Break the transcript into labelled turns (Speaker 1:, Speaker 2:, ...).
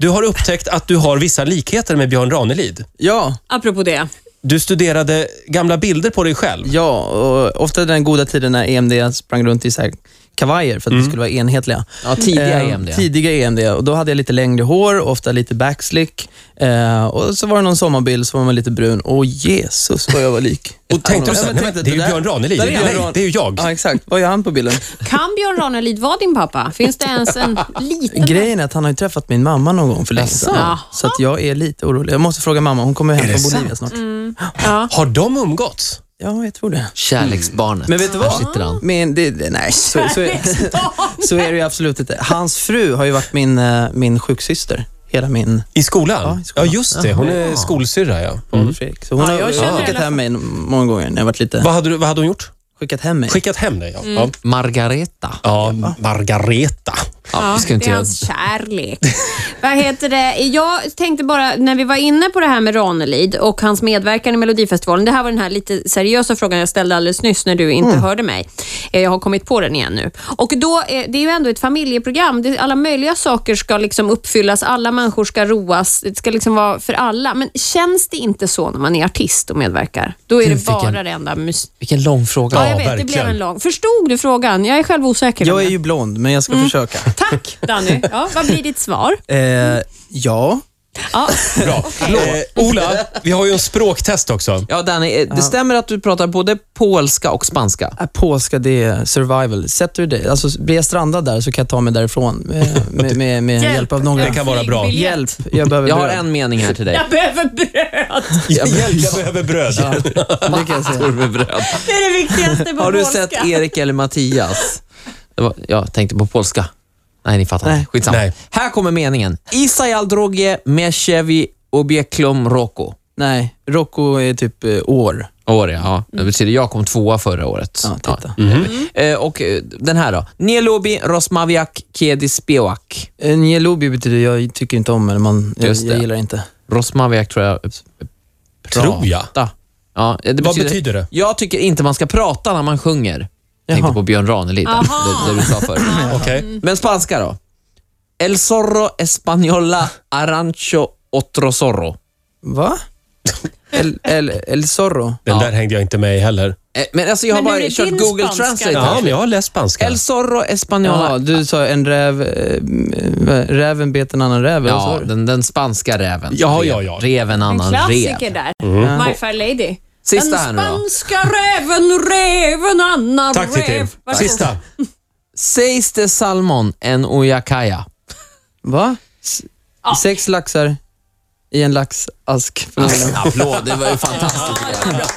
Speaker 1: Du har upptäckt att du har vissa likheter med Björn Ranelid.
Speaker 2: Ja,
Speaker 3: Apropå det.
Speaker 1: Du studerade gamla bilder på dig själv.
Speaker 2: ja och ofta den goda tiden när EMD sprang runt i så här kavajer för att
Speaker 1: Mm.
Speaker 2: vi skulle vara enhetliga.
Speaker 4: Ja, tidiga
Speaker 1: E
Speaker 2: Eh,
Speaker 4: EMD.
Speaker 2: Tidiga EMD. Och då hade jag lite längre hår, ofta lite backslick. Eh, och så var det någon sommarbild, så var man lite brun. Åh Jesus vad jag var lik.
Speaker 1: Och tänkte du
Speaker 2: Ja,
Speaker 1: så här,
Speaker 2: men
Speaker 1: nej,
Speaker 2: tänkte,
Speaker 1: men det är ju
Speaker 2: där-
Speaker 1: Björn Ranelid.
Speaker 2: där är Björn
Speaker 1: Nej,
Speaker 2: Ran-
Speaker 1: det är ju jag.
Speaker 2: Ja, exakt. Vad gör han på bilden?
Speaker 3: Kan Björn Ranelid vara din pappa? Finns det ens en liten...
Speaker 2: Grejen är att han har ju träffat min mamma någon gång för länge sedan.
Speaker 3: Jaså?
Speaker 2: Så att jag är lite orolig. Jag måste fråga mamma, hon kommer ju hem
Speaker 1: Är det
Speaker 2: från Bolivia
Speaker 1: sant? Mm.
Speaker 2: snart.
Speaker 3: Ja.
Speaker 1: Har de umgåtts?
Speaker 2: Ja, jag tror det.
Speaker 4: Kärleksbarnet.
Speaker 2: Men vet du
Speaker 4: Här
Speaker 2: vad?
Speaker 4: sitter han.
Speaker 2: Men det, det- nej, så, så, så är det ju absolut inte. Hans fru har ju varit min, eh, min sjuksyster, hela
Speaker 4: Mm.
Speaker 2: min
Speaker 1: I skolan?
Speaker 2: Ja,
Speaker 1: Ja,
Speaker 2: i skolan.
Speaker 1: just det. Hon är
Speaker 4: Jaha.
Speaker 1: skolsyrra, ja.
Speaker 2: mm. Fredrik. Så hon
Speaker 3: Ja,
Speaker 2: har
Speaker 3: jag
Speaker 2: ju
Speaker 3: känner i
Speaker 2: skickat
Speaker 3: alla
Speaker 2: hem mig många gånger när jag varit lite...
Speaker 1: Vad hade, du, vad hade hon gjort?
Speaker 2: Skickat hem mig.
Speaker 1: Skickat hem dig, ja.
Speaker 4: Mm.
Speaker 1: Ja.
Speaker 4: Margareta.
Speaker 1: Ja, Margareta.
Speaker 4: Ja, vi ska inte
Speaker 3: det är
Speaker 4: göra...
Speaker 3: hans kärlek. Vad heter det? Jag tänkte bara, när vi var inne på det här med Ranelid och hans medverkan i Melodifestivalen. Det här var den här lite seriösa frågan jag ställde alldeles nyss när du inte
Speaker 4: Mm.
Speaker 3: hörde mig. Eh, Jag har kommit på den igen nu. Och då, eh, det är ju ändå ett familjeprogram. Det- Alla möjliga saker ska liksom uppfyllas, alla människor ska roas. Det ska liksom vara för alla. Men känns det inte så när man är artist och medverkar? Då är
Speaker 4: Du
Speaker 3: det
Speaker 4: fick en-
Speaker 3: bara det enda mys...
Speaker 4: Vilken lång
Speaker 3: Ja,
Speaker 4: fråga.
Speaker 3: jag vet. Det
Speaker 1: verkligen.
Speaker 3: blev en lång. Förstod du frågan? Jag är själv osäker.
Speaker 2: Jag är ju blond, men jag ska
Speaker 3: Mm.
Speaker 2: försöka.
Speaker 3: Tack Danny. Ja, vad blir ditt svar?
Speaker 2: Eh, ja.
Speaker 3: Ja.
Speaker 1: Bra. Eh, Ola, vi har ju en språktest också.
Speaker 4: Ja, Danny, eh, det stämmer att du pratar både polska och spanska.
Speaker 2: Äh, Polska, det är survival. Sätter du det? Alltså, blir jag strandad där så kan jag ta mig därifrån eh, med, med, med hjälp av några.
Speaker 1: Det kan vara bra.
Speaker 2: Hjälp, jag behöver
Speaker 4: Jag har
Speaker 2: bröd.
Speaker 4: en mening här till dig.
Speaker 3: Jag behöver bröd.
Speaker 1: Hjälp, jag behöver bröd.
Speaker 2: Det kan jag säga.
Speaker 4: Korvbröd.
Speaker 3: Det är det viktigaste på
Speaker 4: Har du
Speaker 3: polska.
Speaker 4: sett Erik eller Mattias? Det var, jag tänkte på polska. Nej, ni fattar.
Speaker 2: Nej.
Speaker 4: Nej. Skitsamma.
Speaker 1: Nej.
Speaker 4: Här kommer meningen. Isajal drogie meshevi obieklom roko.
Speaker 2: Nej, Rocco är typ eh, år.
Speaker 4: År, ja. Det betyder jag kom tvåa förra året.
Speaker 2: Ja, titta.
Speaker 4: Eh, Och eh, den här då. Nielubi rosmaviak kedis biwak.
Speaker 2: Eh, Nielubi betyder jag tycker inte om, eller man, jag,
Speaker 4: Just det.
Speaker 2: jag gillar inte.
Speaker 4: Rosmaviak tror jag...
Speaker 1: Tror jag.
Speaker 4: Prata. Ja, det
Speaker 1: Vad betyder det?
Speaker 4: Jag tycker inte man ska prata när man sjunger. Jag
Speaker 2: Jaha.
Speaker 4: tänkte på Björn Ranelid, där,
Speaker 3: Aha.
Speaker 4: där du sa förut.
Speaker 1: Okej.
Speaker 4: Men spanska då? El zorro española arancho otro zorro. Eh,
Speaker 2: Va? El, el, el Zorro?
Speaker 1: Den där hängde jag inte med i heller.
Speaker 4: Eh, Men alltså jag har
Speaker 3: Men hur
Speaker 4: bara
Speaker 3: är
Speaker 4: kört
Speaker 3: din
Speaker 4: Google
Speaker 3: spanska
Speaker 4: Translate.
Speaker 3: då?
Speaker 1: Ja,
Speaker 4: här.
Speaker 1: men jag har läst spanska.
Speaker 4: El zorro española.
Speaker 2: Ja, du sa en räv, eh, m- räven bet en annan räv. eller vad sa
Speaker 4: Ja,
Speaker 2: du?
Speaker 4: den, den spanska räven.
Speaker 1: Ja,
Speaker 4: Rev-
Speaker 1: ja, ja.
Speaker 4: Rev
Speaker 3: En
Speaker 4: en annan rev.
Speaker 3: klassiker där.
Speaker 2: Mm.
Speaker 3: My Fair Lady.
Speaker 4: Sista
Speaker 3: Den
Speaker 4: här nu då.
Speaker 3: spanska räven, räven, annan
Speaker 1: Tack Titti.
Speaker 3: räv. Varsågod.
Speaker 1: Sista.
Speaker 4: Seis de salmon en oyakaya.
Speaker 2: Va? S- Sex laxar i en laxask.
Speaker 4: En applåd, det var ju fantastiskt.